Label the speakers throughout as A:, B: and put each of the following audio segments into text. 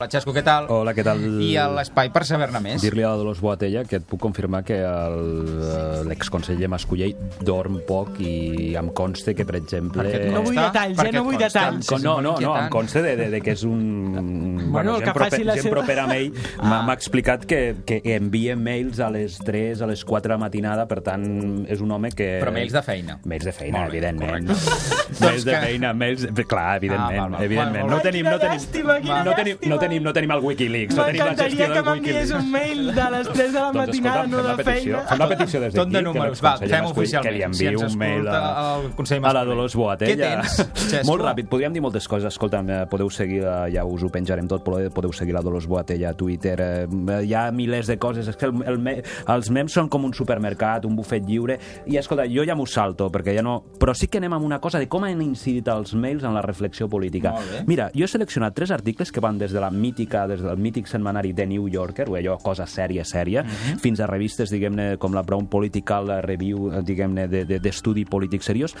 A: Hola, Xasco, què tal?
B: Hola, què tal?
A: I a l'espai per saber-ne més.
B: Dir-li a la Dolors Boatella que et puc confirmar que el- eh, l'exconseller Mascullell dorm poc i em conste que, per exemple...
A: Perquè et
C: No vull
A: consta,
C: detalls, eh?
A: perquè et
C: No vull
A: consta.
C: detalls.
B: Con- No, no, no, em
A: Inquietant.
B: consta de, de, de que és un...
C: Bueno, el
B: gent,
C: que
B: proper,
C: faci la
B: gent
C: seva-
B: propera a ell
A: Ah.
B: m'ha m'ha explicat que, que envia mails a les 3, a les 4 de la matinada, per tant, és un home que...
A: Però mails de feina.
B: Mails de feina,
A: Molt bé, correcte.
B: evidentment. Mails de
A: Doncs que- Ah,
B: feina, mails... Clar, evidentment,
A: val, val.
B: evidentment.
A: Molt
B: No tenim, no tenim,
C: Làstima, quina
B: no tenim,
C: llàstima.
B: no tenim, no tenim el Wikileaks, no tenim la
C: M'encantaria
B: gestió
C: que
B: del
C: m'enviés
B: Wikileaks.
C: un mail de les 3 de la
B: Doncs
C: matinada,
B: escolta,
C: no
B: fem la
C: de
B: petició,
C: feina.
B: fem la petició des d'aquí.
A: Tot de
B: que
A: números,
B: el
A: va,
B: conseller
A: fem
B: Mascolell,
A: oficialment.
B: Que li
A: Si
B: enviï
A: ens
B: un mail a,
A: escolta el conseller
B: a la
A: Mascolell.
B: Dolors Boatella.
A: Què tens, Xesco?
B: Molt ràpid, podríem dir moltes coses. Escolta, podeu seguir, eh, ja us ho penjarem tot, però eh, podeu seguir la Dolors Boatella a Twitter. eh, Hi ha milers de coses. És que el, el, me- els mems són com un supermercat, un bufet lliure. I escolta, jo ja m'ho salto, perquè ja no... Però sí que anem amb una cosa de com han incidit els mails en la reflexió política.
A: Molt bé.
B: Mira, jo he seleccionat tres articles que van des de la mítica, des del mític setmanari The New Yorker, o allò, cosa sèria, sèria,
A: Mhm.
B: fins a revistes, diguem-ne, com la Brown Political Review, eh, diguem-ne, de- de- d'estudi de, polític seriós,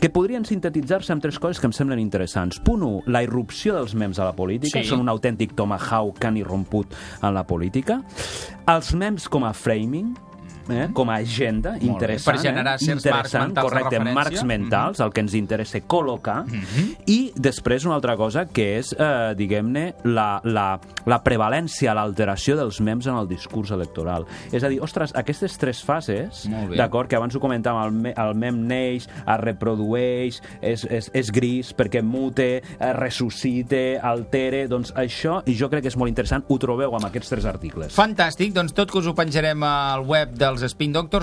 B: que podrien sintetitzar-se amb tres coses que em semblen interessants. Punt 1, la irrupció dels memes a la política,
A: Sí.
B: són un autèntic tomahawk que han irromput en la política. Els memes com a framing, Eh? com a agenda
A: Mhm. bé,
B: interessant,
A: per generar
B: eh?
A: certs marcs
B: interessant,
A: mentals de
B: correcte,
A: referència.
B: marcs mentals, el que ens interessa col·locar, i després una altra cosa que és, eh, diguem-ne, la, la, la prevalència, l'alteració dels memes en el discurs electoral. És a dir, ostres, aquestes tres fases,
A: Molt bé.
B: d'acord, que abans ho comentàvem, el, me, el mem neix, es reprodueix, és, és, és gris perquè mute, es ressuscite, altere, doncs això jo crec que és molt interessant, ho trobeu amb aquests tres articles.
A: Fantàstic, doncs tot que us ho penjarem al web dels Spin Doctors